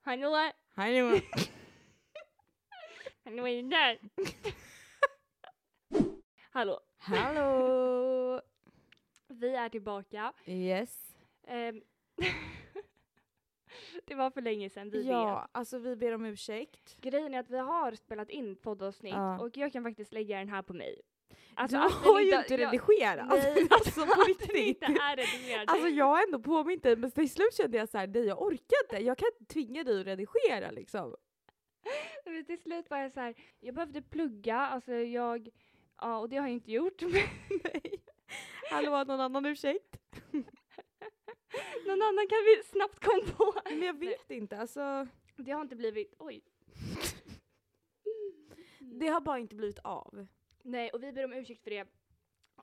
hallå, Hallå! hallå är du där? hallå. Hallå! Vi är tillbaka. Yes. Ehm, det var för länge sedan, vi ja, vet. alltså vi ber om ursäkt. Grejen är att vi har spelat in poddavsnitt Ja. och jag kan faktiskt lägga den här på mig. Alltså, du att den har ju inte jag- redigerat! Nej, alltså på att den riktigt! inte är redigerad. Alltså jag har ändå påmint dig men till slut kände jag så här, nej jag orkar inte, jag kan inte tvinga dig att redigera liksom. Men till slut var jag så här, jag behövde plugga, alltså jag, ja och det har jag inte gjort. Nej. Hallå, någon annan ursäkt? Någon annan kan vi snabbt komma på. Men jag vet inte, alltså Det har inte blivit, oj. det har bara inte blivit av. Nej, och vi ber om ursäkt för det.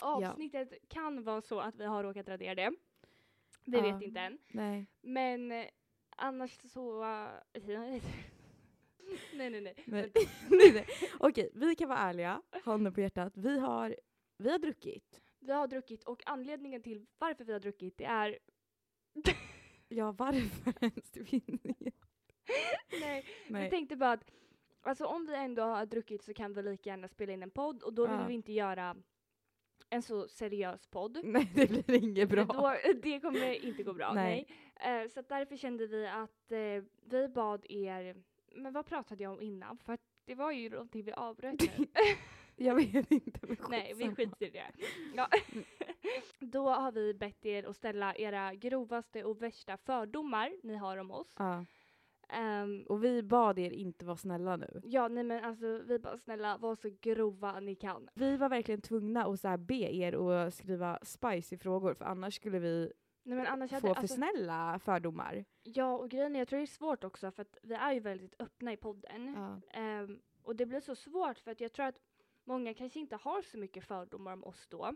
Avsnittet kan vara så att vi har råkat radera det. Vi Ja. vet inte än. Nej. Men eh, annars så... nej, nej, nej. Nej. nej, nej. Okej, vi kan vara ärliga, handen på hjärtat. Vi har, vi har druckit. Vi har druckit och anledningen till varför vi har druckit det är... Ja, varför ens? Det finns ingen- nej, vi Nej. tänkte bara att alltså, om vi ändå har druckit så kan vi lika gärna spela in en podd och då vill Ja. vi inte göra en så seriös podd. nej, det blir inget bra. Då, eh, det kommer inte gå bra. Nej. Nej. Eh, så att därför kände vi att eh, vi bad er, men vad pratade jag om innan? För att det var ju någonting vi avbröt nu. Jag vet inte. men Nej, vi skitsamma. skiter i det. Ja. Då har vi bett er att ställa era grovaste och värsta fördomar ni har om oss. Ja. Ehm, Och vi bad er inte vara snälla nu. ja, nej men alltså vi bara snälla var så grova ni kan. Vi var verkligen tvungna att så här be er att skriva spicy frågor för annars skulle vi Nej men annars hade få för alltså, Mm. snälla fördomar. Ja och grejen är, jag tror det är svårt också för att vi är ju väldigt öppna i podden. Ehm, och det blir så svårt för att jag tror att många kanske inte har så mycket fördomar om oss då.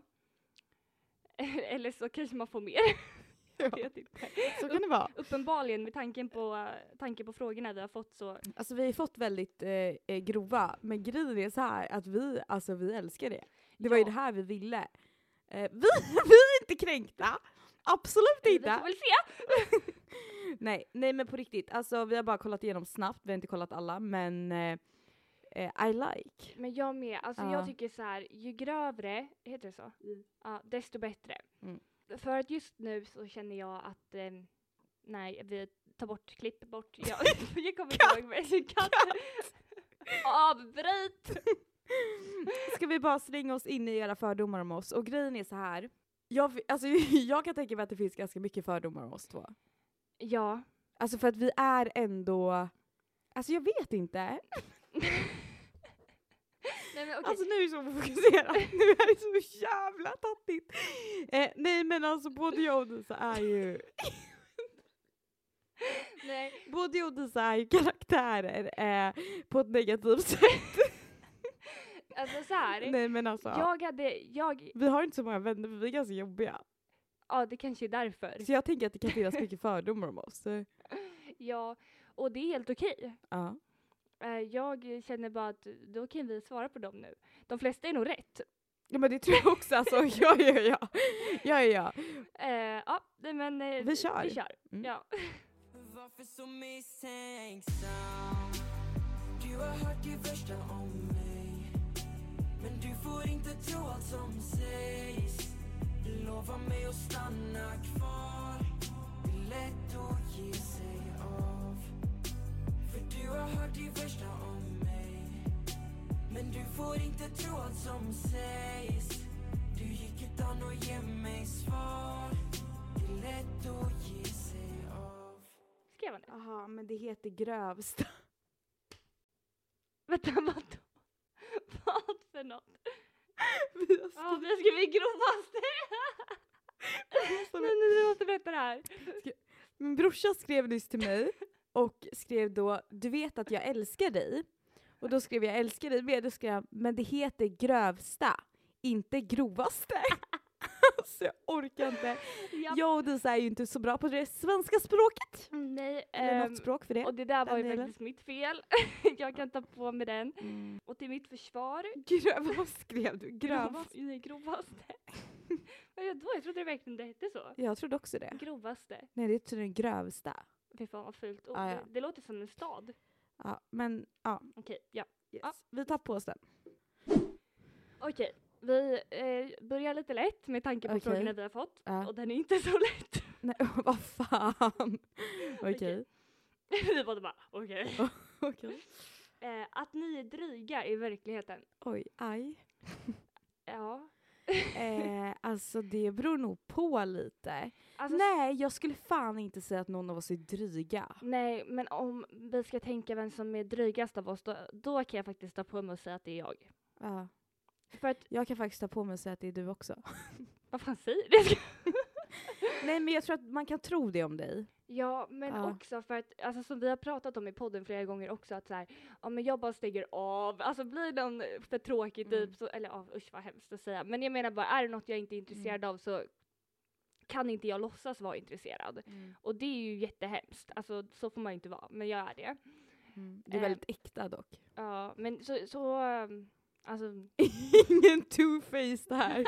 Eller så kanske man får mer. Jag vet inte. Så kan det vara. Uppenbarligen med tanken på, eh, tanken på frågorna vi har fått så Alltså vi har ju fått väldigt eh, eh, grova, men grejen är så här att vi, alltså vi älskar det. Det var ju Ja. det här vi ville. Eh, vi, vi är inte kränkta! Absolut vi får inte! väl se. Nej, nej men på riktigt, alltså vi har bara kollat igenom snabbt, vi har inte kollat alla men eh, eh, I like. Men jag med. Alltså jag Ja. tycker så här, ju grövre, heter det så? Ja, desto bättre. Mm. För att just nu så känner jag att eh, nej, vi tar bort, klipp bort. Jag, jag kommer inte ihåg vad jag Avbryt! Ska vi bara slänga oss in i era fördomar om oss? Och grejen är så här. Jag, alltså, jag kan tänka mig att det finns ganska mycket fördomar om oss två. Ja. Alltså för att vi är ändå... Alltså jag vet inte. Nej, men okej. Alltså nu är det så fokuserad. Nu är det så jävla tattigt. Eh, nej men alltså både jag och Disa är ju... Nej, Både jag och Disa är ju karaktärer eh, på ett negativt sätt. alltså så här. Nej men alltså. Jag hade, jag, Vi har inte så många vänner för vi är ganska jobbiga. ja det kanske är därför. Så jag tänker att det kan finnas mycket fördomar om oss. Eh, Ja, och det är helt okej. Ja. Eh, Jag känner bara att då kan vi svara på dem nu. De flesta är nog rätt. Ja men det tror jag också alltså. Ja ja ja. Ja ja ja. Eh, ja, nej, men eh, Vi kör. Vi kör. Mm. Ja. Varför så misstänksam? Du har hört det värsta om mig Men du får inte tro allt som sägs Lova mig att stanna kvar Det är lätt att ge sig av För du har hört det värsta om mig Men du får inte tro allt som sägs Du gick utan att ge mig svar Det är lätt att ge sig av Skrev han det? Jaha men det heter grövsta. Vänta, vad Vad för något? Vi har Ja, vi har skrivit grovaste. skrivit- nej, nej, vi måste berätta det här. Min brorsa skrev nyss till mig och skrev då “Du vet att jag älskar dig” och då skrev jag “älskar dig” med, då skrev han “Men det heter grövsta, inte grovaste”. alltså jag orkar inte. Ja. Jag och Disa är ju inte så bra på det svenska språket. Nej, Eller ehm, något språk för och det. det där var ju den delen. faktiskt mitt fel. jag kan ta på mig den. Mm. Och till mitt försvar Gröv, vad skrev du? Grövast? Grövast. Nej, grovaste. Vad är det då? Jag trodde det verkligen det hette så. Jag trodde också det. Grovaste. Nej det är tydligen grövsta. Fy fan vad fult ord. Ja, Ah, ja. Det, det låter som en stad. Ja, men ja, Okej, ja. yes. Ja. vi tar på oss den. Okej, vi eh, börjar lite lätt med tanke på Okej. frågorna vi har fått. Ja. Och den är inte så lätt. Nej, vad fan. Okej. Okej. vi båda bara okej. Okej. Eh, att ni är dryga i verkligheten. Oj, aj. Ja. Eh, alltså det beror nog på lite. Alltså, Nej, jag skulle fan inte säga att någon av oss är dryga. Nej, men om vi ska tänka vem som är drygast av oss, då, då kan jag faktiskt ta på mig och säga att det är jag. Ja. För att, Jag kan faktiskt ta på mig och säga att det är du också. vad fan säger det? Nej men jag tror att man kan tro det om dig. ja, men Ja. också för att, alltså som vi har pratat om i podden flera gånger också, att så här, ja men jag bara stänger av, alltså blir någon för tråkig Mm. typ, så, eller ja, usch vad hemskt att säga, men jag menar bara, är det något jag inte är intresserad av så kan inte jag låtsas vara intresserad. Mm. Och det är ju jättehemskt, alltså så får man ju inte vara, men jag är det. Mm. Du är väldigt äkta dock. Ja, men så, så um, alltså Ingen two-faced här.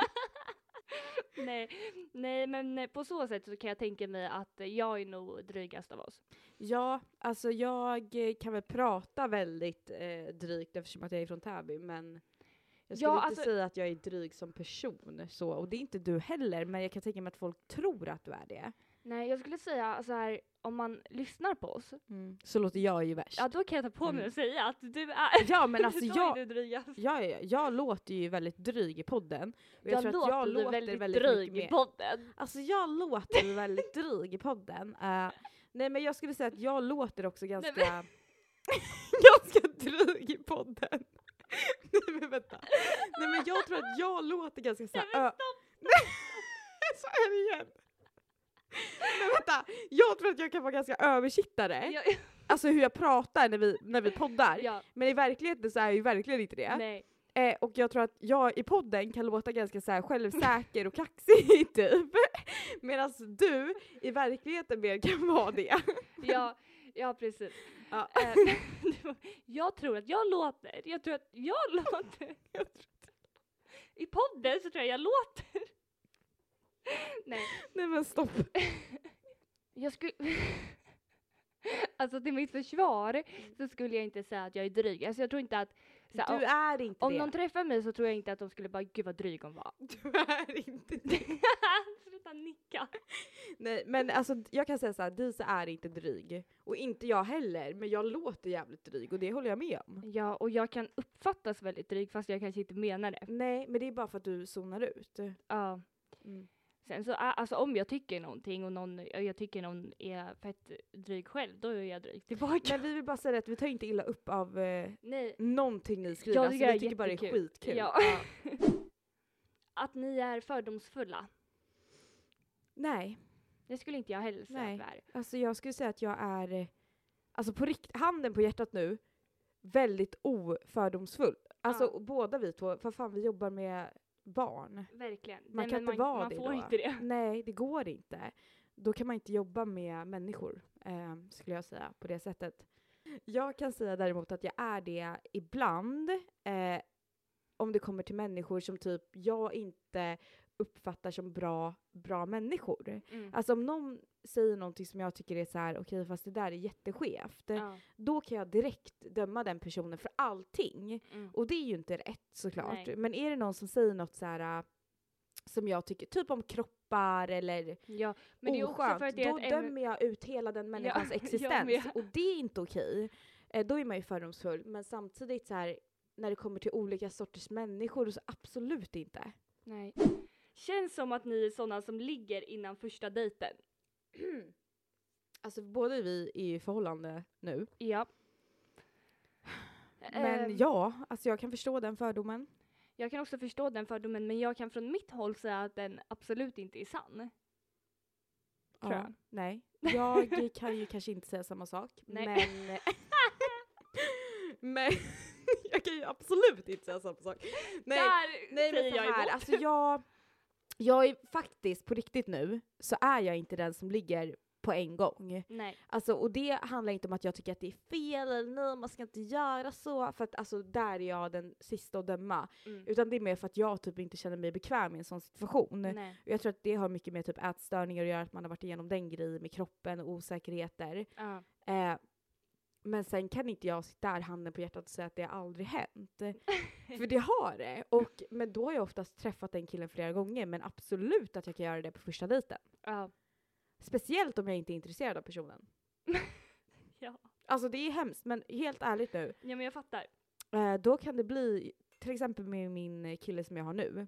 Nej, nej, men eh, på så sätt så kan jag tänka mig att eh, jag är nog drygast av oss. ja, alltså jag eh, kan väl prata väldigt eh, drygt eftersom att jag är från Täby men jag skulle Ja, inte alltså- säga att jag är dryg som person så, och det är inte du heller men jag kan tänka mig att folk tror att du är det. Nej, jag skulle säga så här, om man lyssnar på oss, Så låter jag ju värst. Mm. ja då kan jag ta på mig Mm. och säga att du är, Ja men alltså då jag, är du drygast. Ja, ja, ja. jag låter ju väldigt dryg i podden. Och Jag, låter, jag ju väldigt, dryg i mycket mer- podden. Alltså jag låter ju väldigt dryg i podden. Eh, nej men jag skulle säga att jag låter också ganska... ganska dryg i podden. nej men vänta. Nej men jag tror att jag låter ganska såhär... Nej, men ö- Nej, så är det igen. Men vänta, jag tror att jag kan vara ganska översittare. Jag, Alltså hur jag pratar när vi, när vi poddar. ja, Men i verkligheten så är jag ju verkligen inte det. nej. Eh, och jag tror att jag i podden kan låta ganska så här självsäker och kaxig typ. Medan du i verkligheten mer kan vara det. Ja, ja precis. Ja. Eh, jag tror att jag låter, jag tror att jag låter. I podden så tror jag jag låter. Nej, Nej men stopp. Jag skulle... alltså till mitt försvar så skulle jag inte säga att jag är dryg. Alltså jag tror inte att... Så här, Du om är inte om det. någon träffar mig så tror jag inte att de skulle bara “gud vad dryg hon var”. Du är inte det. Sluta nicka. Nej men alltså jag kan säga så här, Disa är inte dryg. Och inte jag heller, men jag låter jävligt dryg och det håller jag med om. Ja, och jag kan uppfattas väldigt dryg fast jag kanske inte menar det. Nej men det är bara för att du zonar ut. Ja. Mm. Sen så, ä- alltså om jag tycker någonting och någon, och jag tycker någon är fett dryg själv, då är jag dryg tillbaka. Men vi vill bara säga att vi tar inte illa upp av eh, Nej. någonting ni skriver. Jag alltså, tycker det vi är tycker bara det är jättekul. skitkul. Ja. Att ni är fördomsfulla, Nej. det skulle inte jag heller säga Nej. att vi är. Alltså jag skulle säga att jag är, eh, alltså på rikt- handen på hjärtat nu, väldigt ofördomsfull. Alltså Ja. båda vi två, för fan vi jobbar med barn. Verkligen. Man Nej, kan men inte vara man det får då. inte det. Nej, det går inte. Då kan man inte jobba med människor, eh, skulle jag säga, på det sättet. Jag kan säga däremot att jag är det ibland, eh, om det kommer till människor som typ jag inte uppfattar som bra, bra människor. Mm. Alltså om någon säger någonting som jag tycker är så här, okej fast det där är jätteskevt, Ja. då kan jag direkt döma den personen för allting. Mm. Och det är ju inte rätt såklart. Nej. Men är det någon som säger något så här äh, som jag tycker, typ om kroppar eller ja. Men det är också oskönt, för att det då är ett ämne... dömer jag ut hela den människans Ja, jag existens. med. Och det är inte okej. Eh, då är man ju fördomsfull. Men samtidigt så här när det kommer till olika sorters människor så absolut inte. Nej. Känns som att ni är sådana som ligger innan första dejten. Alltså både vi är ju i förhållande nu. Ja. Men Ehm, ja, alltså jag kan förstå den fördomen. Jag kan också förstå den fördomen men jag kan från mitt håll säga att den absolut inte är sann. tror jag. Nej. Jag kan ju kanske inte säga samma sak. Nej. Men... men jag kan ju absolut inte säga samma sak. Nej, Där nej men säger så jag här, emot. alltså jag... Jag är faktiskt, på riktigt nu, så är jag inte den som ligger på en gång. Nej. Alltså, och det handlar inte om att jag tycker att det är fel eller nej, man ska inte göra så. För att alltså, där är jag den sista att döma. Mm. Utan det är mer för att jag typ inte känner mig bekväm i en sån situation. Nej. Och jag tror att det har mycket med typ ätstörningar att göra, att man har varit igenom den grejen med kroppen och osäkerheter. Ja. Eh, men sen kan inte jag sitta här handen på hjärtat och säga att det har aldrig hänt. För det har det. Och, men då har jag oftast träffat den killen flera gånger men absolut att jag kan göra det på första dejten. Ja. Speciellt om jag inte är intresserad av personen. Ja. Alltså det är hemskt men helt ärligt nu. ja, men jag fattar. Eh, då kan det bli, till exempel med min kille som jag har nu.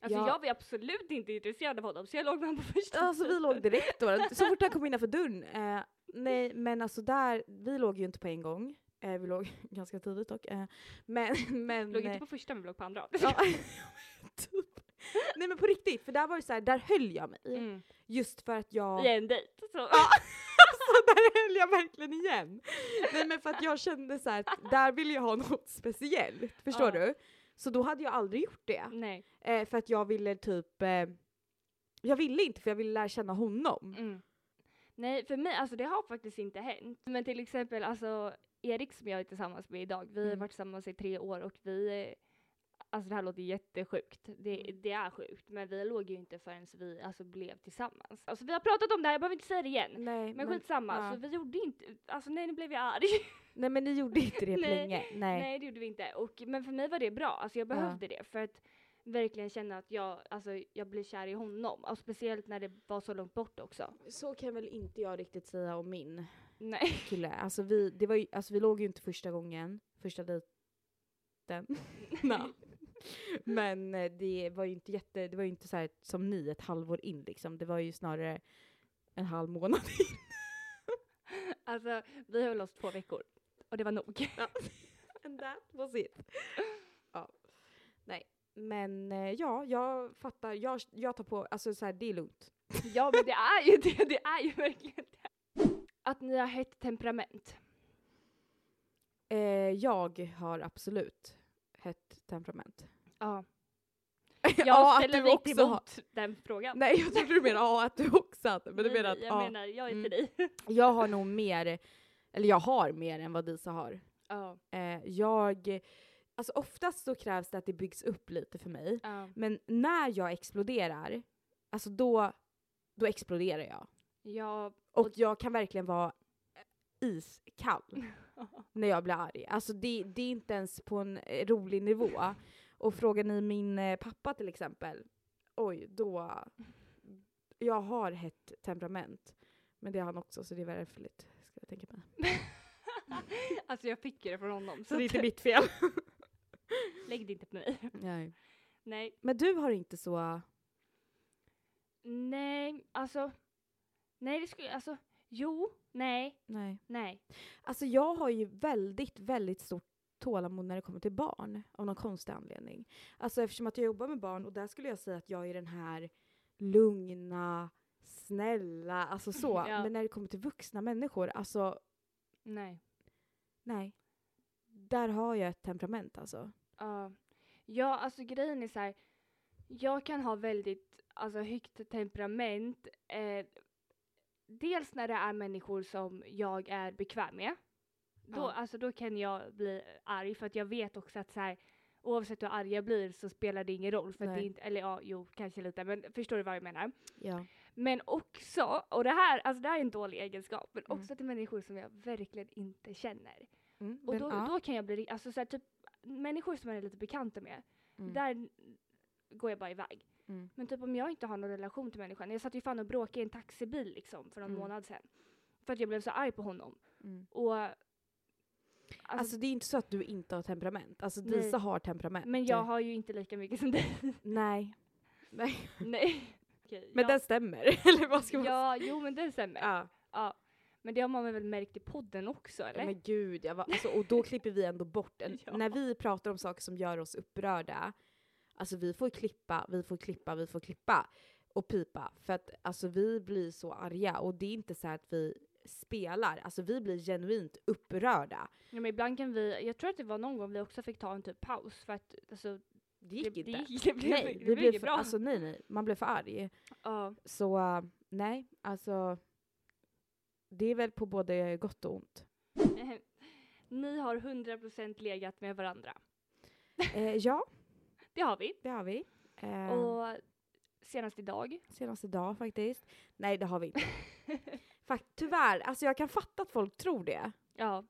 Alltså Ja. jag var ju absolut inte intresserad av honom så jag låg med honom på första Alltså vi dejten. låg direkt då. Så fort han kom innanför dörren. Eh, nej men alltså där, vi låg ju inte på en gång. Eh, vi låg ganska tidigt dock. Eh, men, men, Låg eh, inte på första men vi låg på andra. Ja, typ. Nej men på riktigt, för där var det så här, där höll jag mig. Mm. Just för att jag... I en dejt. Så. Alltså där höll jag verkligen igen. Nej men för att jag kände så här, att där ville jag ha något speciellt. Förstår Ja. du? Så då hade jag aldrig gjort det. Nej. Eh, för att jag ville typ... Eh, jag ville inte för jag ville lära känna honom. Mm. Nej, för mig, alltså det har faktiskt inte hänt. Men till exempel, alltså Erik som jag är tillsammans med idag, vi har Mm. varit tillsammans i tre år och vi, eh, alltså det här låter jättesjukt. Det, Mm. det är sjukt, men vi låg ju inte förrän vi alltså blev tillsammans. Alltså vi har pratat om det här, jag behöver inte säga det igen. Nej, Men skitsamma, ja. så vi gjorde inte, alltså nej nu blev jag arg. nej men ni gjorde inte det på Nej, länge. Nej. Nej det gjorde vi inte. Och, men för mig var det bra, alltså jag behövde det för att verkligen känna att jag, alltså, jag blev kär i honom. Och speciellt när det var så långt bort också. Så kan väl inte jag riktigt säga om min Nej. kille. Alltså vi, det var ju, alltså vi låg ju inte första gången, första dejten. Nej. Men eh, det var ju inte jätte, det var ju inte så här som ni ett halvår in liksom. Det var ju snarare en halv månad in. Alltså vi höll oss två veckor. Och det var nog. And that was it. ja. Nej. Men eh, ja, jag fattar. Jag, jag tar på, alltså så här, det är lugnt. ja men det är ju det, det är ju verkligen det. Att ni har hett temperament. Eh, jag har absolut hett temperament. Ja. Jag Ja, att ställer du mig också inte emot har- den frågan. Nej jag trodde du menade ja, att du också hade, men du Nej, menar att nej, Jag ja. menar, jag är till Mm. dig. Jag har nog mer, eller jag har mer än vad Disa har. ja. Eh, jag, alltså oftast så krävs det att det byggs upp lite för mig. Ja. Men när jag exploderar, alltså då, då exploderar jag. Ja. Och jag kan verkligen vara iskall när jag blir arg. Alltså det, det är inte ens på en eh, rolig nivå. Och frågar ni min eh, pappa till exempel, oj då. Jag har hett temperament. Men det har han också så det är värfligt, ska jag tänka mig. alltså jag fick ju det från honom. Så, att- mitt fel. lägg det inte på mig. Nej. Nej. Men du har inte så... Nej, alltså. Nej, det skulle, alltså. Jo, nej, Nej. nej. Alltså jag har ju väldigt, väldigt stort tålamod när det kommer till barn av någon konstig anledning. Alltså eftersom att jag jobbar med barn och där skulle jag säga att jag är den här lugna, snälla, alltså så. Ja. Men när det kommer till vuxna människor, alltså Nej. nej. Där har jag ett temperament alltså. Ja. ja, alltså grejen är så här. Jag kan ha väldigt alltså, högt temperament. Eh, dels när det är människor som jag är bekväm med. Då, Ja. alltså, då kan jag bli arg för att jag vet också att så här, oavsett hur arg jag blir så spelar det ingen roll. För att det Nej. är inte, eller ja, jo, kanske lite, men förstår du vad jag menar? Ja. Men också, och det här, alltså det här är en dålig egenskap, men Mm. också till människor som jag verkligen inte känner. Mm, Och men, då, ja. då kan jag bli, alltså så här, typ människor som jag är lite bekanta med, Mm. där går jag bara iväg. Mm. Men typ om jag inte har någon relation till människan, jag satt ju fan och bråkade i en taxibil liksom för någon Mm. månad sedan. För att jag blev så arg på honom. Mm. Och, alltså, Alltså det är inte så att du inte har temperament. Alltså Nej. Disa har temperament. men jag har ju inte lika mycket som dig. Nej. nej. Nej. Okej, Men ja, den stämmer, eller vad ska man säga? Ja, jo men det stämmer. Ja. Ja. Men det har man väl märkt i podden också eller? Men gud, jag var, alltså, och då klipper vi ändå bort en, Ja. När vi pratar om saker som gör oss upprörda, alltså vi får klippa, vi får klippa, vi får klippa och pipa. För att alltså, vi blir så arga och det är inte så här att vi spelar, alltså vi blir genuint upprörda. Ja, men ibland kan vi, jag tror att det var någon gång vi också fick ta en typ paus för att alltså, Det gick det, inte. Det, gick- det blev, nej, det vi blev blev inget för, bra. alltså, nej, nej, man blev för arg. ja, Så eh, nej, alltså det är väl på både gott och ont. Eh, Ni har 100% legat med varandra. Eh, ja, Det har vi. det har vi. Eh, Och senast idag. Senast idag faktiskt. Nej, det har vi inte. Fakt, tyvärr, alltså jag kan fatta att folk tror det. Ja,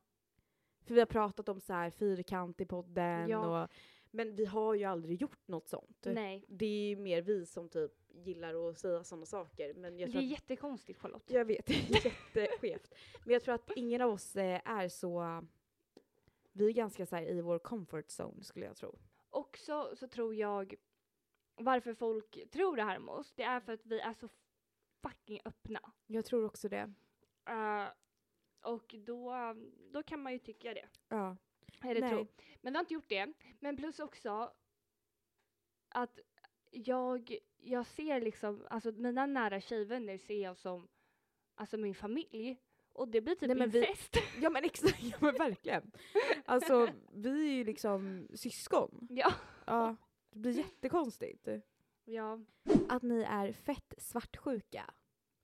För vi har pratat om så här fyrkant i podden Ja. och men vi har ju aldrig gjort något sånt. nej. Det är ju mer vi som typ gillar att säga sådana saker. Men jag det tror är att jättekonstigt Charlotte. Jag vet, det är jätteskevt. Men jag tror att ingen av oss eh, är så... Vi är ganska så här, i vår comfort zone skulle jag tro. Också så tror jag varför folk tror det här med oss, det är för att vi är så fucking öppna. Jag tror också det. Eh, och då, då kan man ju tycka det. Ja. Eller Nej. tro. Men vi har inte gjort det. Men plus också att jag, jag ser liksom, alltså mina nära tjejvänner ser jag som alltså min familj. Och det blir typ Nej, men vi- incest. Ja men exakt, ja, men verkligen. Alltså vi är ju liksom syskon. ja. Ja. Det blir jättekonstigt. ja. Att ni är fett svartsjuka.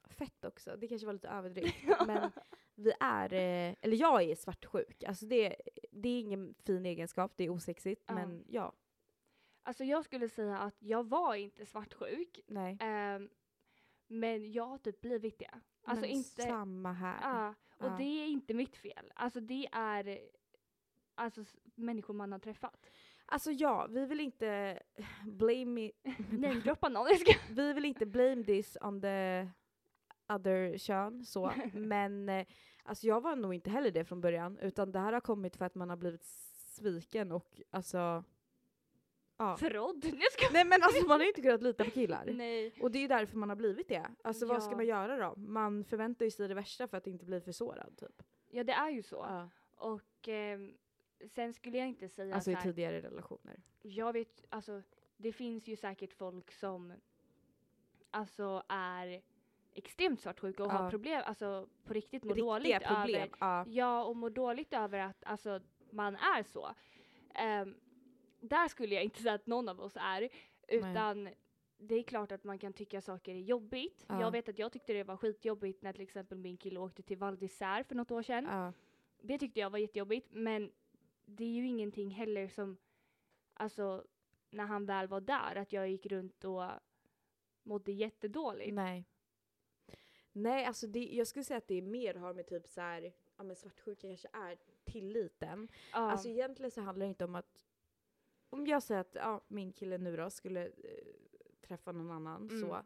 Fett också, det kanske var lite överdrivet. Men vi är, eh, eller jag är svartsjuk. Alltså det, det är ingen fin egenskap, det är osexigt. Ja. Men ja, Alltså jag skulle säga att jag var inte svartsjuk. nej. ehm, men jag har typ blivit det. Alltså men inte... Samma här. Ja, och Ja. det är inte mitt fel. Alltså det är eh, alltså, s- människor man har träffat. Alltså ja, vi vill inte blame, i- Namedroppa någon, jag ska. vi vill inte blame this on the other kön så, men eh, alltså jag var nog inte heller det från början utan det här har kommit för att man har blivit sviken och alltså ja. Förrådd, jag ska. Nej men alltså man har ju inte kunnat lita på killar. Nej. Och det är ju därför man har blivit det. Alltså vad ska Ja. man göra då? Man förväntar ju sig det värsta för att inte bli för sårad typ. Ja det är ju så. Ja. Och ehm, sen skulle jag inte säga Alltså så i här, tidigare relationer. jag vet, alltså det finns ju säkert folk som alltså är extremt svartsjuka och Ja. har problem, alltså på riktigt mår Riktiga dåligt över problem. Ja. Ja, och må dåligt över att alltså, man är så. Ehm, där skulle jag inte säga att någon av oss är, utan det är klart att man kan tycka saker är jobbigt. Ja. Jag vet att jag tyckte det var skitjobbigt när till exempel min kille åkte till Val d'Isère för något år sedan. Ja. Det tyckte jag var jättejobbigt, men det är ju ingenting heller som, alltså när han väl var där, att jag gick runt och mådde jättedåligt. Nej. Nej, alltså det, jag skulle säga att det är mer har med typ så här, ja men svartsjuka kanske är tilliten. Ja. Alltså egentligen så handlar det inte om att, om jag säger att ja, min kille nu då skulle eh, träffa någon annan Mm. så,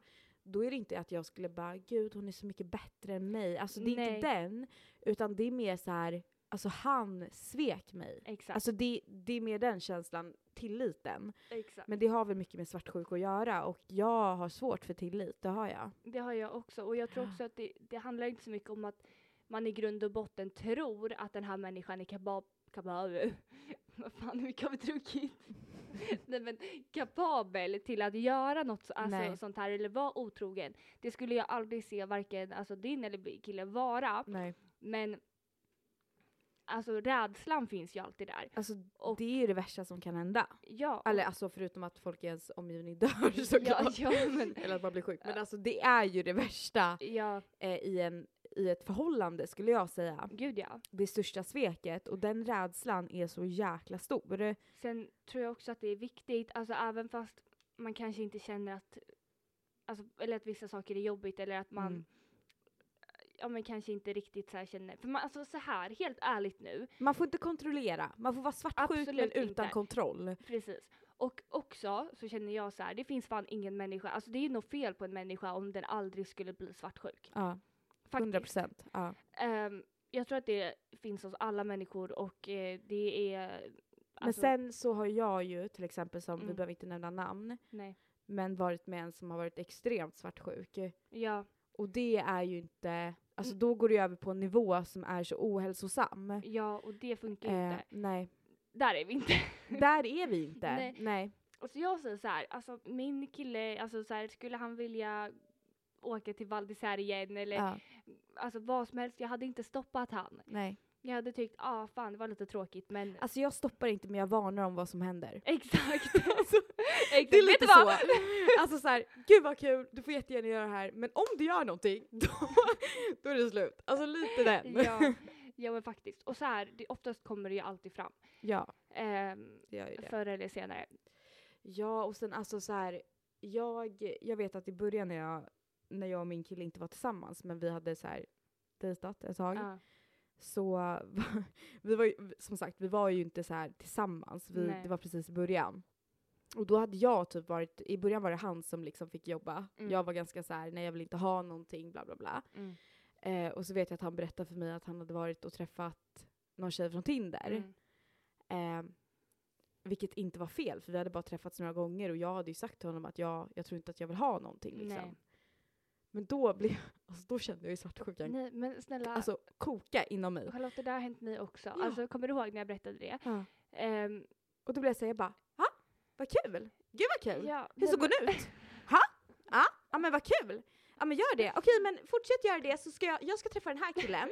då är det inte att jag skulle bara gud hon är så mycket bättre än mig. Alltså det är Nej. inte den, utan det är mer så här, alltså han svek mig. exakt. Alltså det, det är mer den känslan, tilliten. exakt. Men det har väl mycket med svartsjuka att göra och jag har svårt för tillit, det har jag. Det har jag också. Och jag tror Ja. också att det, det handlar inte så mycket om att man i grund och botten tror att den här människan är kabab... kabab vad fan, hur mycket har vi druckit? Nej men kapabel till att göra något så, alltså, Nej. sånt här eller vara otrogen. Det skulle jag aldrig se varken alltså, din eller min kille vara. Nej. Men alltså rädslan finns ju alltid där. Alltså Och- det är ju det värsta som kan hända. Ja. och- Eller alltså förutom att folk i ens omgivning dör ja, såklart. ja, men, Eller att man blir sjuk. Men alltså det är ju det värsta ja, eh, i, en, i ett förhållande skulle jag säga. gud ja. Det största sveket och den rädslan är så jäkla stor. Sen tror jag också att det är viktigt, alltså även fast man kanske inte känner att, alltså, eller att vissa saker är jobbigt eller att man, Mm. ja men kanske inte riktigt så här känner, för man, alltså så här, helt ärligt nu, Man får inte kontrollera. Man får vara svartsjuk men Absolut utan inte. kontroll. precis. Och också så känner jag så här, det finns fan ingen människa, alltså det är nog fel på en människa om den aldrig skulle bli svartsjuk. Ja, Faktiskt. 100 procent. Ja. Ehm, jag tror att det finns hos alla människor och eh, det är... alltså, Men sen så har jag ju till exempel, som vi Mm. behöver inte nämna namn, Nej. men varit med en som har varit extremt svartsjuk. Ja, Och det är ju inte, Mm. alltså då går det ju över på en nivå som är så ohälsosam. ja, och det funkar Eh, inte. nej, Där är vi inte. där är vi inte. Nej. nej. Och så jag säger så här, alltså min kille, alltså så här, skulle han vilja åka till Val d'Isère igen eller Ja, alltså vad som helst, jag hade inte stoppat han. nej. Jag hade tyckt, ah fan det var lite tråkigt men Alltså jag stoppar inte men jag varnar om vad som händer. exakt. Alltså, exakt. Det är Vet lite du så. vad? Alltså så här, gud vad kul, du får jättegärna göra det här, men om du gör någonting, då, då är det slut. Alltså lite den. Ja, ja men faktiskt. Och så här, det, oftast kommer det ju alltid fram. Ja, Ehm, det gör ju det. förr eller senare. Ja, och sen alltså så här, jag, jag vet att i början när jag, när jag och min kille inte var tillsammans, men vi hade så här dejtat ett tag, Ja. så var- vi var ju, som sagt, vi var ju inte så här tillsammans, vi, Nej. det var precis i början. Och då hade jag typ varit, i början var det han som liksom fick jobba. Mm. Jag var ganska så här, nej jag vill inte ha någonting, bla bla bla. Mm. Eh, och så vet jag att han berättade för mig att han hade varit och träffat någon tjej från Tinder. Mm. Eh, vilket inte var fel, för vi hade bara träffats några gånger och jag hade ju sagt till honom att jag, jag tror inte att jag vill ha någonting. Nej. Liksom. Men då, blev, alltså, då kände jag ju svartsjukan Nej men snälla, alltså, koka inom mig. Charlotte det där har hänt mig också. Ja. Alltså kommer du ihåg när jag berättade det? Ehm, Och då blev jag såhär, jag bara, ha? Vad kul! Gud vad kul! ja, Hur nej, såg men- hon ut? Ha? Ja, ja men vad kul! Ja men gör det. Okej men fortsätt göra det så ska jag, jag ska träffa den här killen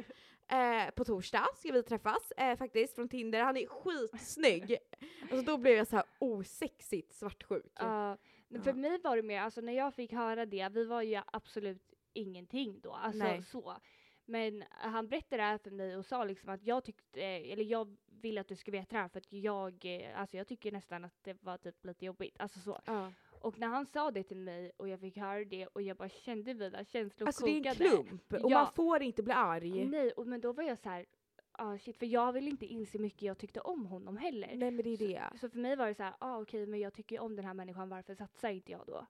eh, på torsdag. Ska vi träffas eh, faktiskt från Tinder. Han är skitsnygg. Alltså då blev jag så här osexigt svartsjuk. Ja, men för Ja. mig var det mer, alltså när jag fick höra det, vi var ju absolut ingenting då, alltså Nej. så. Men han berättade det här för mig och sa liksom att jag tyckte, eh, eller jag vill att du ska veta det här för att jag, eh, alltså jag tycker nästan att det var typ lite jobbigt, alltså så. Ja. Och när han sa det till mig och jag fick höra det och jag bara kände mina känslor Alltså det kokade. är en klump och Ja. man får inte bli arg. Nej, och, men då var jag så här, ah, shit, för jag ville inte inse hur mycket jag tyckte om honom heller. Nej men det är det. Så för mig var det så här, ah, okej men jag tycker ju om den här människan, varför satsar inte jag då?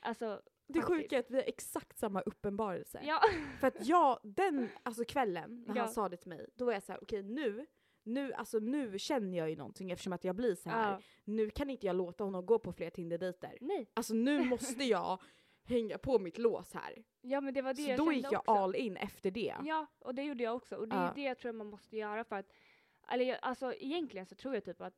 Alltså, Det faktiskt. sjuka är att vi har exakt samma uppenbarelse. ja. För att jag, den alltså kvällen när Ja. han sa det till mig, då var jag så här: okej nu, nu, alltså, nu känner jag ju någonting eftersom att jag blir så här. Ja. nu kan inte jag låta honom gå på fler Tinder-dejter. Nej, Alltså nu måste jag hänga på mitt lås här. ja men det var det Så jag då kände gick jag också. all in efter det. Ja, och det gjorde jag också. Och det är Ja. det jag tror man måste göra för att, eller jag, alltså egentligen så tror jag typ att,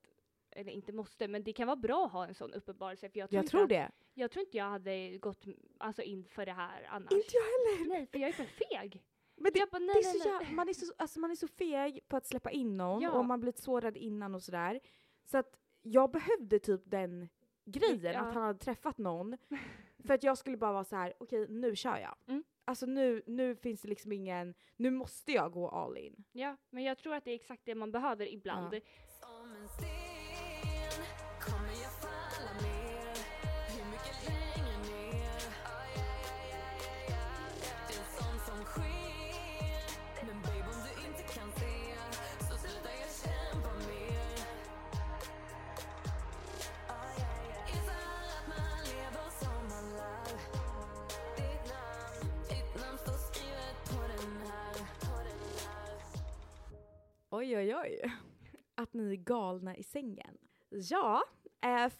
eller inte måste, men det kan vara bra att ha en sån uppenbarelse. För jag tror, jag inte tror att, det. Jag tror inte jag hade gått alltså, in för det här annars. Inte jag heller. Nej, för jag är för feg. Men det, jag bara, nej, det är så nej, nej. jä- man, är så, alltså, man är så feg på att släppa in någon Ja. och man blir sårad innan och sådär. Så att jag behövde typ den grejen, Ja. att han hade träffat någon. För att jag skulle bara vara så här: okej nu kör jag. Mm. Alltså nu, nu finns det liksom ingen, nu måste jag gå all in. Ja, men jag tror att det är exakt det man behöver ibland. Ja. Som en sten kommer jag falla ner Hur mycket längre ner? Det är sånt som sker Men babe om du inte kan se Så sluta jag kämpa mer Inser att man lever som man lär Ditt namn, ditt namn står skrivet på den här Oj oj oj. Att ni är galna i sängen. Ja, eh,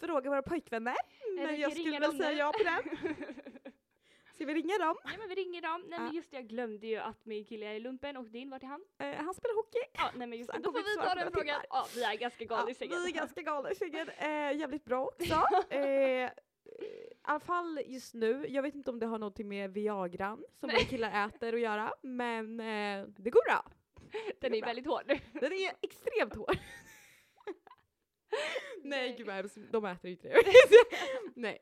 fråga våra pojkvänner. vi Men kan jag ringa skulle dem väl säga nu. ja på den. Ska vi ringa dem? Nej men vi ringer dem. Nej men Ja. just det, jag glömde ju att min kille är i lumpen och din, vart är han? Eh, han spelar hockey. Ja, nej men just Så det. han Då kommer får vi inte ta svara på den några frågan. timmar. Ja, vi är ganska galna i sängen. vi är ganska galna i sängen. Eh, jävligt bra också. Eh, eh, I alla fall just nu. Jag vet inte om det har något med Viagran som Nej. våra killar äter att göra, men eh, det går bra. Den är bra. väldigt hård. Den är extremt hård. nej Nej. gud vad hemskt, de äter ju inte det. nej.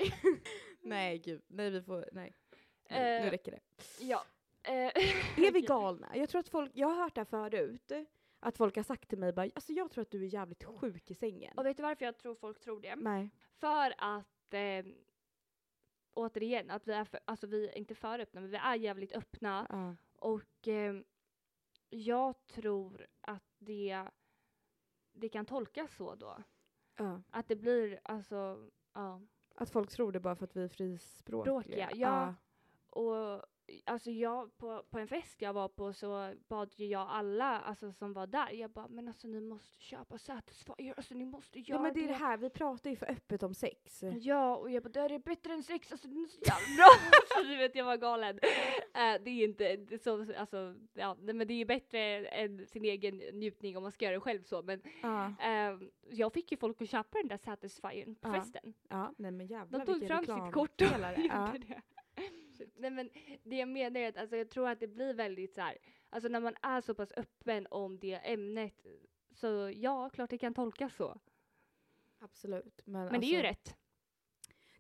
nej gud, nej vi får, nej. Nu, nu Eh, räcker det. Ja. Eh, Är vi galna? Jag tror att folk, jag har hört det här förut, att folk har sagt till mig bara, alltså jag tror att du är jävligt sjuk i sängen. Och vet du varför jag tror folk tror det? Nej. För att eh, återigen, att vi är, för, alltså vi är inte för öppna, men vi är jävligt öppna. Ja. Och eh, jag tror att det, det kan tolkas så då. Ja. Att det blir alltså, ja. Att folk tror det bara för att vi är frispråkiga. Språkiga, ja. Och alltså jag, på, på en fest jag var på så bad ju jag alla alltså, som var där, jag bara men alltså ni måste köpa satisfyer, alltså ni måste göra ja men det är det här, vi pratar ju för öppet om sex. Ja, och jag bara det här är bättre än sex, alltså det är så jävla bra! alltså, du vet jag var galen. Eh, det är inte det är så, alltså, ja, nej, men det är ju bättre än sin egen njutning om man ska göra det själv så men Ja. ehm, jag fick ju folk att köpa den där satisfyern på Ja. festen. ja. Nej men jävlar De tog vilken fram sitt kort och reklampelare. gjorde ja. det. Nej men det jag menar är att alltså, jag tror att det blir väldigt så här, alltså när man är så pass öppen om det ämnet så ja, klart det kan tolkas så. Absolut. Men, alltså- Men det är ju rätt.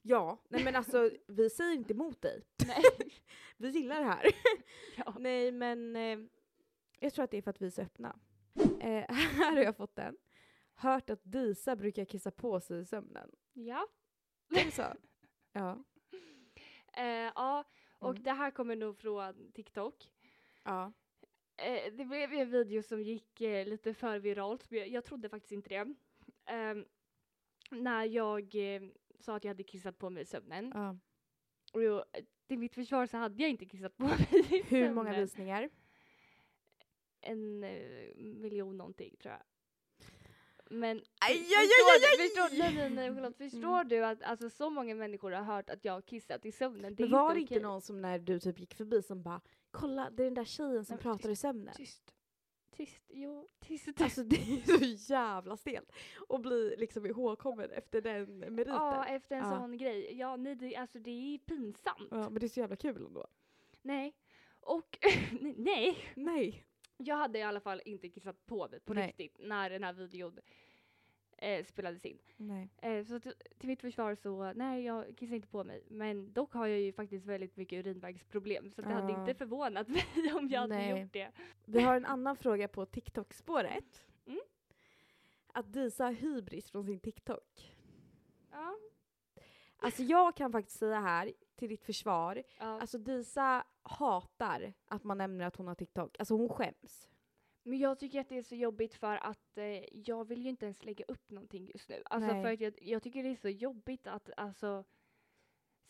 Ja, nej men alltså vi säger inte emot dig. Nej. Vi gillar det här. Ja. Nej men eh, jag tror att det är för att vi är så öppna. Eh, här har jag fått den. Hört att Disa brukar kissa på sig i sömnen. Ja. Är det så? Ja. Eh, ja, och Mm. det här kommer nog från TikTok. ja. Eh, det blev ju en video som gick eh, lite för viralt, men jag, jag trodde faktiskt inte det. Ehm, när jag eh, sa att jag hade kissat på mig i sömnen. ja. Och jag, till mitt försvar så hade jag inte kissat på mig i Hur många sömnen. visningar? En eh, miljon någonting tror jag. Men Aj, förstår, aj, aj, aj, du- förstår, nej, nej, nej, Charlotte, förstår Mm. du att alltså, så många människor har hört att jag har kissat i sömnen? Det är Men var inte det inte okej. någon som när du typ gick förbi som bara “kolla, det är den där tjejen som Nej, men pratar i sömnen”? Tyst. Tyst. Jo, tyst. Alltså det är så jävla stelt att bli liksom ihågkommen efter den meriten. Ja, efter en Ja. sån grej. Ja, nej, det, alltså det är pinsamt. Ja, men det är så jävla kul ändå. Nej. Och nej, Nej. jag hade i alla fall inte kissat på mig på Nej. riktigt när den här videon eh, spelades in. Nej. Eh, så till, till mitt försvar så, nej jag kissar inte på mig. Men dock har jag ju faktiskt väldigt mycket urinvägsproblem så det hade Ja. inte förvånat mig om jag hade Ah. Nej. gjort det. Vi har en annan fråga på TikTok-spåret. Mm. Att Disa har hybris från sin TikTok. Ja. Alltså jag kan faktiskt säga här, till ditt försvar, ja. alltså Disa hatar att man nämner att hon har TikTok. Alltså hon skäms. Men jag tycker att det är så jobbigt för att eh, jag vill ju inte ens lägga upp någonting just nu. Alltså Nej. för att jag, jag tycker det är så jobbigt att alltså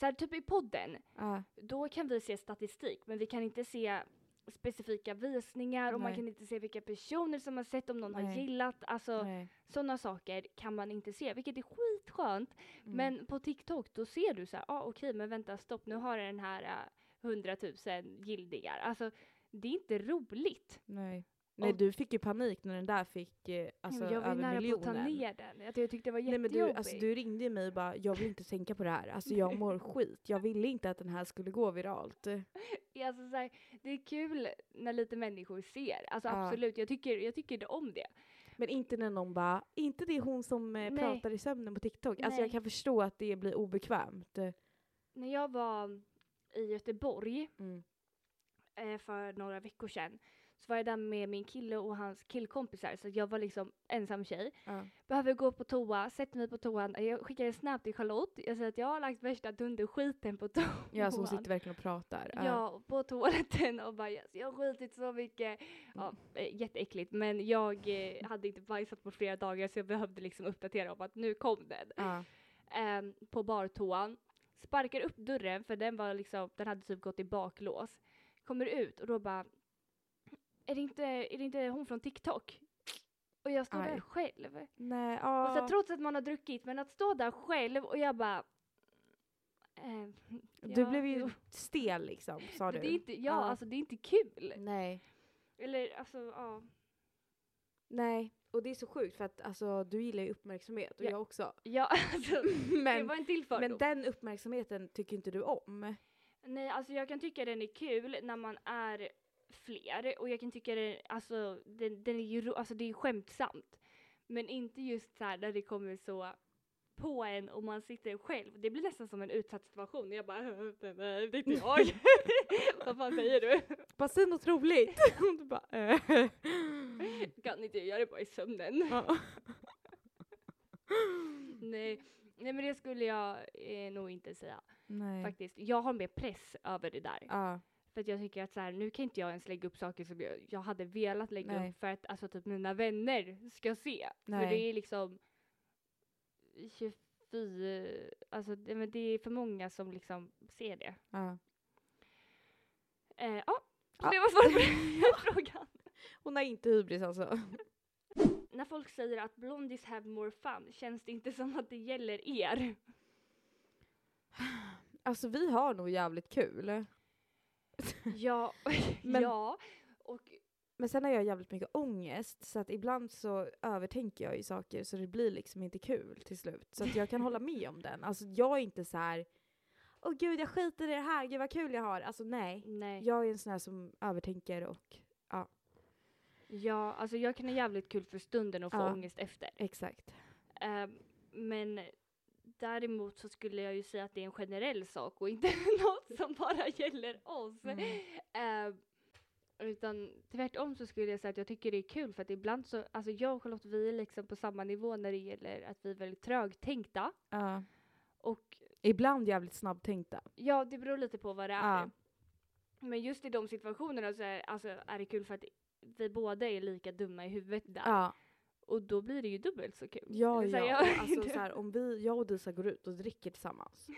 så här, typ i podden, Ja. då kan vi se statistik men vi kan inte se specifika visningar och man Nej. kan inte se vilka personer som har sett, om någon har Nej. gillat. Alltså Nej. sådana saker kan man inte se vilket är skitskönt. Mm. Men på TikTok då ser du så här, ah, okej men vänta stopp nu har den här eh, 100 000 gildningar. Alltså det är inte roligt. Nej. Nej, Och- du fick ju panik när den där fick eh, alltså, Nej, men jag var ju över nära miljonen. på att ta ner den. Att jag tyckte det var Nej, men jättejobbigt. du, alltså, du ringde ju mig och bara “jag vill inte tänka på det här, alltså, jag mår skit, jag ville inte att den här skulle gå viralt”. Ja, alltså, så här, det är kul när lite människor ser. Alltså Ja. absolut, jag tycker, jag tycker det om det. Men inte när någon bara “inte det är hon som eh, Nej. pratar i sömnen på TikTok”. Alltså Nej. jag kan förstå att det blir obekvämt. När jag var i Göteborg Mm. eh, för några veckor sedan så var jag där med min kille och hans killkompisar så jag var liksom ensam tjej. Ja. Behöver gå på toa, sätter mig på toan. Jag skickar en snap till Charlotte. Jag säger att jag har lagt värsta dunderskiten på toan. Ja, så hon sitter verkligen och pratar. Ja, och på toaletten och bara yes, jag har skitit så mycket. Ja, eh, jätteäckligt men jag eh, hade inte bajsat på flera dagar så jag behövde liksom uppdatera om att nu kom den. Ja. Ehm, på bartoan. Sparkar upp dörren för den var liksom, den hade typ gått i baklås. Kommer ut och då bara är det inte, är det inte hon från TikTok? Och jag står där Aj. själv. Nej, Och så ja. här, trots att man har druckit men att stå där själv och jag bara ehm, Du ja, blev ju jo. stel liksom, sa Men du. Det är inte, ja, Ja. alltså det är inte kul. Nej. Eller alltså, ja. Nej, och det är så sjukt för att alltså, du gillar ju uppmärksamhet och Ja. jag också. Ja, alltså, det Men, var en till fördom. men den uppmärksamheten tycker inte du om. Nej, alltså jag kan tycka den är kul när man är fler och jag kan tycka den, alltså den, den är ju, ro- alltså det är ju skämtsamt. Men inte just så här när det kommer så på en och man sitter själv. Det blir nästan som en utsatt situation. Jag bara, nej, det är inte jag. Vad fan säger du? Bara säg något roligt. Och du bara, eh. Kan inte jag göra det bara i sömnen? Ja. Nej. nej, men det skulle jag eh, nog inte säga. Nej. Faktiskt, jag har mer press över det där. Ja. För att jag tycker att så här, nu kan inte jag ens lägga upp saker som jag, jag hade velat lägga Nej. upp för att alltså, typ mina vänner ska se. För det Nej. är liksom 24, alltså det, men det är för många som liksom ser det. Ja. Eh, ja, så Ja. det var svaret på den frågan. Hon har inte hybris alltså. När folk säger att blondis have more fun känns det inte som att det gäller er. Alltså vi har nog jävligt kul. ja, Men- ja. Och Men sen har jag jävligt mycket ångest så att ibland så övertänker jag ju saker så det blir liksom inte kul till slut. Så att jag kan hålla med om den. Alltså jag är inte så här. åh gud jag skiter i det här, gud vad kul jag har. Alltså nej. Nej. Jag är en sån här som övertänker och Ja, alltså jag kan ha jävligt kul för stunden och få Ja. ångest efter. exakt. Ehm, men däremot så skulle jag ju säga att det är en generell sak och inte något som bara gäller oss. Mm. Ehm, utan tvärtom så skulle jag säga att jag tycker det är kul för att ibland så, alltså jag och Charlotte vi är liksom på samma nivå när det gäller att vi är väldigt trögtänkta. Ja. Och Ibland jävligt snabbtänkta. ja, det beror lite på vad det är. Ja. Men just i de situationerna så är, alltså, är det kul för att vi båda är lika dumma i huvudet där. Ja, Och då blir det ju dubbelt så kul. ja. Eller så här, ja. jag- Och Alltså, så här, om vi, jag och Disa går ut och dricker tillsammans.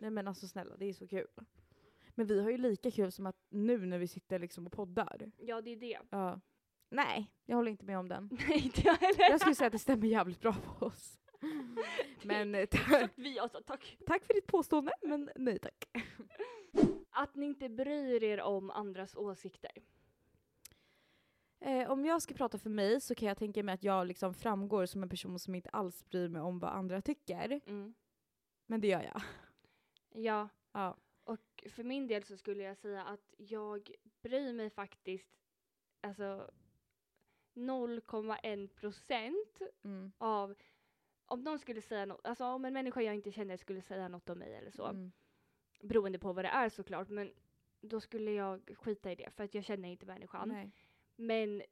Nej men alltså snälla, det är så kul. Men vi har ju lika kul som att nu när vi sitter liksom och poddar. Ja, det är det. Ja. Nej, jag håller inte med om den. Nej, inte jag heller. Jag skulle säga att det stämmer jävligt bra på oss. Men eh, ta- Exakt vi också, tack. tack för ditt påstående, men nej tack. Att ni inte bryr er om andras åsikter. Eh, om jag ska prata för mig så kan jag tänka mig att jag liksom framgår som en person som inte alls bryr mig om vad andra tycker. Mm. Men det gör jag. Ja, Ja. och för min del så skulle jag säga att jag bryr mig faktiskt alltså 0,1 procent Mm. av om någon skulle säga något, alltså om en människa jag inte känner skulle säga något om mig eller så, Mm. beroende på vad det är såklart, men då skulle jag skita i det för att jag känner inte människan. Nej. Men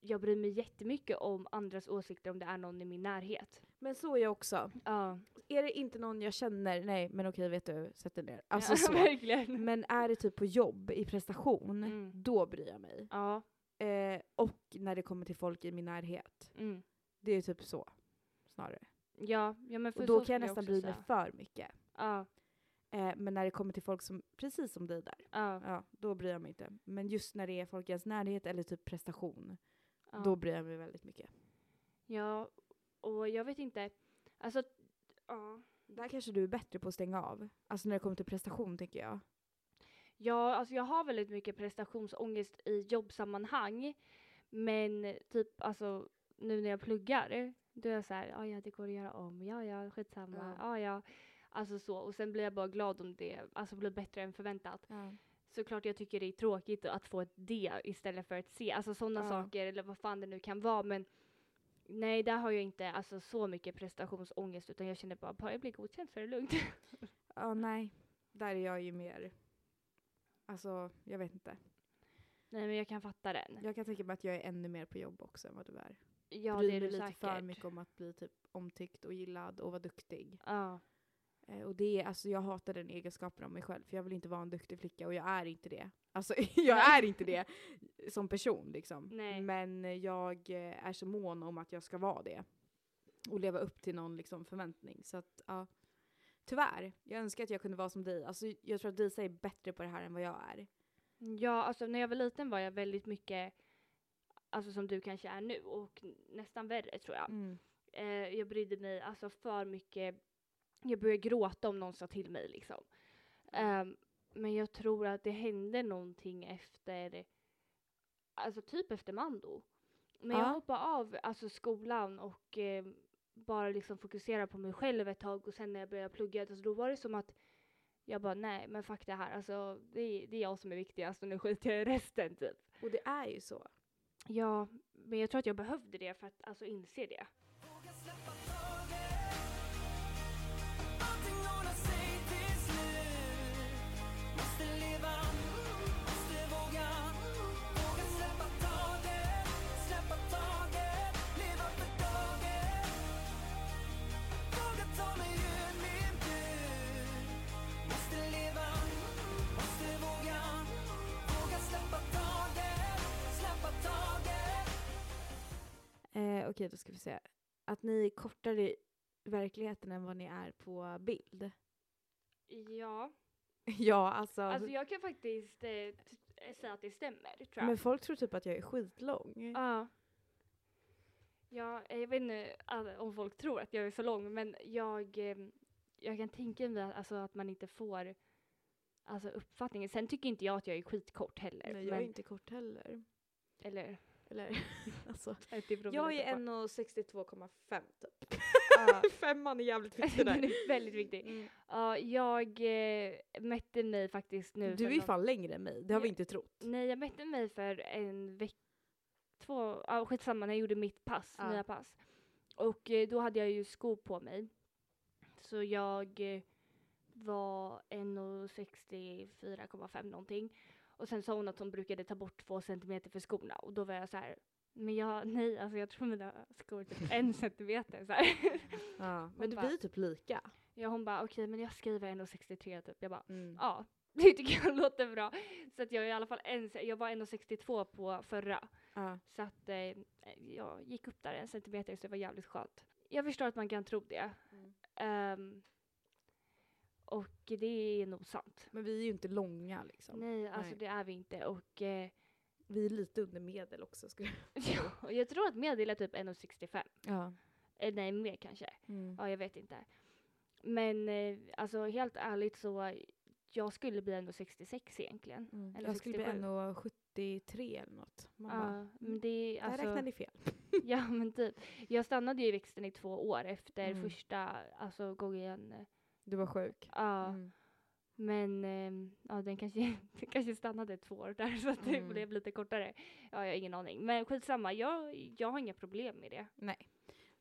jag bryr mig jättemycket om andras åsikter om det är någon i min närhet. Men så är jag också. Ja, Är det inte någon jag känner, nej men okej vet du, sätt dig ner. Alltså så. verkligen. Men är det typ på jobb, i prestation, Mm. då bryr jag mig. Ja, Eh, och när det kommer till folk i min närhet. mm. Det är typ så, snarare. ja, ja men för Och så då kan skulle jag nästan också bry mig säga. för mycket. Ja, Eh, men när det kommer till folk som, precis som dig där, ja, ja, då bryr jag mig inte. Men just när det är folk i ens närhet eller typ prestation, ja. då bryr jag mig väldigt mycket. ja, och jag vet inte. Alltså, ja. Där kanske du är bättre på att stänga av. Alltså när det kommer till prestation tänker jag. Ja, alltså jag har väldigt mycket prestationsångest i jobbsammanhang. Men typ alltså nu när jag pluggar, då är jag så här, "Ah, ja ja det går att göra om, ja ja skitsamma, Ah, ja Ja. ja. Alltså så, och sen blir jag bara glad om det alltså blir bättre än förväntat. Såklart jag tycker det är tråkigt att få ett D istället för ett C, alltså sådana Ja. saker eller vad fan det nu kan vara men nej där har jag inte alltså så mycket prestationsångest utan jag känner bara, bara jag blir godkänd så är det lugnt. Ja, nej. Där är jag ju mer... Alltså, jag vet inte. nej men jag kan fatta den. Jag kan tänka mig att jag är ännu mer på jobb också än vad du är. Ja bryr det är mig du lite säkert. för mycket om att bli typ omtyckt och gillad och vara duktig. Ja. Eh, och det är, alltså jag hatar den egenskapen om mig själv för jag vill inte vara en duktig flicka och jag är inte det. Alltså jag är inte det som person liksom. Nej. Men jag eh, är så mån om att jag ska vara det. Och leva upp till någon liksom, förväntning. Så att ja. Tyvärr, jag önskar att jag kunde vara som dig. Alltså jag tror att Disa är bättre på det här än vad jag är. Ja, alltså när jag var liten var jag väldigt mycket, alltså som du kanske är nu och n- nästan värre tror jag. Mm. Eh, jag brydde mig alltså för mycket, jag började gråta om någon sa till mig liksom. Ehm, men jag tror att det hände någonting efter, alltså typ efter Mando. Men jag Ja. hoppade av alltså skolan och eh, bara liksom fokuserade på mig själv ett tag och sen när jag började plugga, alltså, då var det som att jag bara nej men fuck det här, alltså det är, det är jag som är viktigast och nu skiter jag i resten typ. Och det är ju så. Ja, men jag tror att jag behövde det för att alltså inse det. Våga släppa taget Allting ordnar sig till slut Måste leva, måste våga Våga släppa taget, släppa taget Leva för dagen Våga ta mig ur min bur Måste leva, måste våga Våga släppa taget, släppa taget Eh, Okej, då ska vi se. Att ni är kortare i verkligheten än vad ni är på bild. Ja, ja, alltså. alltså jag kan faktiskt eh, t- eh, säga att det stämmer tror jag. men folk tror typ att jag är skitlång. Ja. Ja, eh, jag vet inte all- om folk tror att jag är så lång men jag, eh, jag kan tänka mig att, alltså, att man inte får alltså, uppfattningen. Sen tycker inte jag att jag är skitkort heller. Nej, jag är men, inte kort heller. eller, Eller, alltså. det beror väl Jag lite är på. 1,62,5 typ. Ja. Mm. Femman är jävligt viktig Den där. är väldigt viktig. Ja, jag eh, mätte mig faktiskt nu. Du för är ju någon- fan längre än mig, det har vi Ja. inte trott. Nej, jag mätte mig för en vecka, två, ja skitsamma när jag gjorde mitt pass, Ja. nya pass. Och eh, då hade jag ju skor på mig. Så jag eh, var 1,64,5 någonting. Och sen sa hon att hon brukade ta bort två centimeter för skorna och då var jag så här, men jag, nej alltså jag tror mina skor är typ en centimeter så här. Ja. Hon Men du bara- blir ju typ lika. Ja hon bara okej men jag skriver 1,63 typ. Jag bara Mm. ja, det tycker jag låter bra. Så att jag är i alla fall en, jag var 1,62 på förra. Ja. Så att eh, jag gick upp där en centimeter så det var jävligt skönt. Jag förstår att man kan tro det. Mm. Ehm, och det är nog sant. Men vi är ju inte långa liksom. Nej, alltså Nej. det är vi inte. Och eh, Vi är lite under medel också. Skulle ja, och jag tror att medel är typ 1,65. jag. Ja. Eh, nej, mer kanske. Mm. Ja, jag vet inte. Men eh, alltså helt ärligt så, jag skulle bli 1,66 egentligen. Mm. Eller Jag skulle bli 67. 1,73 eller något. Man bara, Ja, men det är där alltså... räknar ni fel. Ja men typ. Jag stannade ju i växten i två år efter Mm. första alltså, gången. Du var sjuk. Ja, Mm. men ehm, ja, den kanske, den kanske stannade två år där så att det Mm. blev lite kortare. Ja, jag har ingen aning. Men skitsamma, jag, jag har inga problem med det.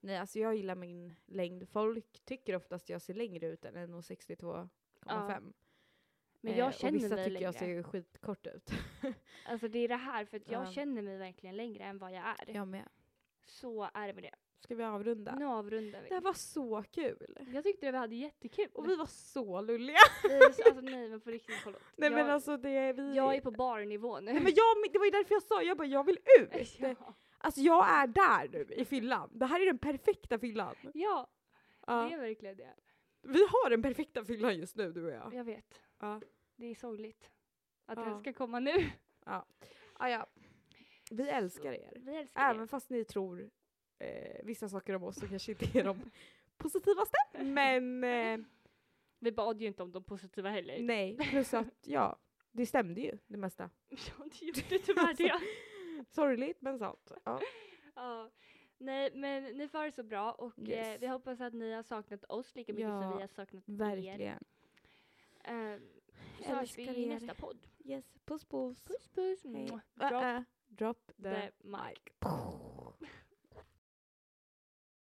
Nej, alltså jag gillar min längd. Folk tycker oftast jag ser längre ut än 1,62,5. Men Eh, jag och känner vissa mig tycker längre. jag ser skitkort ut. Alltså det är det här, för att jag Ja. känner mig verkligen längre än vad jag är. jag med. Så är det med det. Ska vi avrunda? Nu avrundar Det här vi. var så kul! Jag tyckte vi hade jättekul. Och vi var så lulliga! Vi- alltså nej men på riktigt, förlåt. Nej jag, men alltså det är vi... jag är på barnivå nu. Nej, men jag, det var ju därför jag sa, jag bara jag vill ut! ja. Alltså jag är där nu i fyllan. Det här är den perfekta fyllan. ja, Ja. det är verkligen det. Vi har den perfekta fyllan just nu du och jag. Jag vet. Ja. Det är sorgligt att Ja. den ska komma nu. Ah, ja. Vi älskar er. Vi älskar Även fast ni tror eh, vissa saker om oss så kanske inte är de positivaste. Men eh, Vi bad ju inte om de positiva heller. nej, plus att ja, det stämde ju det mesta. Ja, det gjorde tyvärr det. Alltså. Sorgligt men sant. Ja. Ja. Nej, men ni får ha det så bra och eh, Yes. vi hoppas att ni har saknat oss lika mycket som Ja, vi har saknat er. Verkligen. Eh, så hörs vi Älskar i er. nästa podd. Yes, puss puss. Puss puss. Hej. Mua. eh, Drop, Drop drop the, the mic. mic.